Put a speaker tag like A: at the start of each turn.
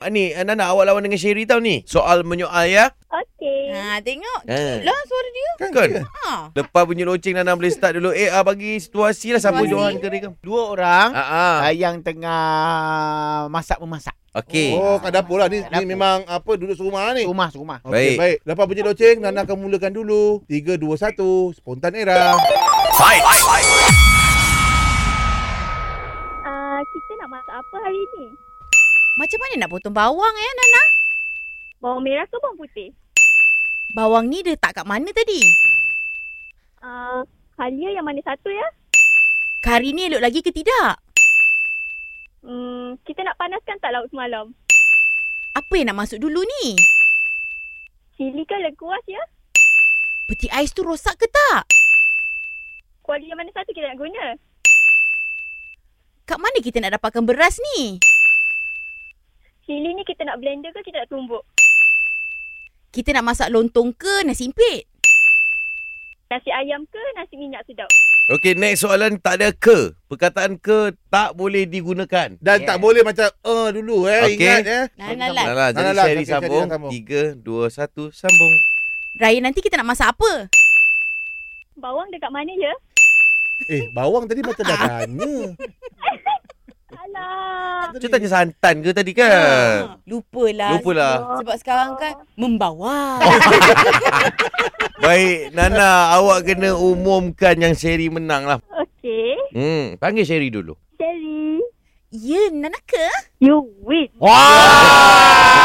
A: Ah, Ni, anak nak awak lawan dengan Sherry tau ni. Soal menyoal ya.
B: Okey.
C: Ha,
A: Ha.
C: tengok.
D: Eh.
C: Cute lah suara dia.
A: Kan kan?
C: Ha.
A: Lepas bunyi loceng Nana boleh start dulu. Eh, ah, bagi situasi lah siapa
C: Situasi.
A: johan ke dia.
E: Dua orang
A: Ha ah.
E: uh, yang tengah masak memasak.
A: Okey.
D: Oh, kat dapur lah. Ni,
E: Kat
D: ni
E: dapur.
D: memang apa duduk serumah lah ni.
E: Rumah rumah.
A: Baik.
D: Okey, baik. Lepas bunyi loceng, Nana akan mulakan dulu. 3, 2, 1. Spontan era.
B: Ah, kita nak masak apa hari ni?
C: Macam mana nak potong bawang ya, Nana?
B: Bawang merah ke bawang putih?
C: Bawang ni letak kat mana tadi?
B: Ah, halia yang mana satu ya?
C: Kari ni elok lagi ke tidak?
B: Hmm, kita nak panaskan tak lauk semalam?
C: Apa yang nak masuk dulu ni?
B: Cili ke lekuas ya?
C: Peti ais tu rosak ke tak?
B: Kuali yang mana satu kita nak guna?
C: Kat mana kita nak dapatkan beras ni?
B: Cili ni kita nak blender ke kita nak tumbuk?
C: Kita nak masak lontong ke nasi impit?
B: Nasi ayam ke nasi minyak sedap?
A: Okey, next soalan tak ada ke. Perkataan ke tak boleh digunakan.
E: Yeah.
D: Dan tak boleh macam eh dulu eh.
A: Okey.
D: Ingat eh.
C: Nana lah.
A: Nana, jadi
D: Nana lah,
A: Sherry
D: okey, Sherry
A: sambung.
D: lah sambung.
A: 3, 2, 1, sambung.
C: Raya nanti kita nak masak apa?
B: Bawang dekat mana ya?
D: Eh, bawang tadi macam dah tanya.
B: Alah.
A: Cik tanya santan ke tadi kan?
C: Lupalah.
A: Lupalah. Oh.
C: Sebab sekarang kan membawa.
A: Baik, Nana, awak kena umumkan yang Sherry menang lah.
B: Okey.
A: Hmm, panggil Sherry dulu.
B: Sherry,
C: ya, Nana ke?
B: you win.
A: Wah!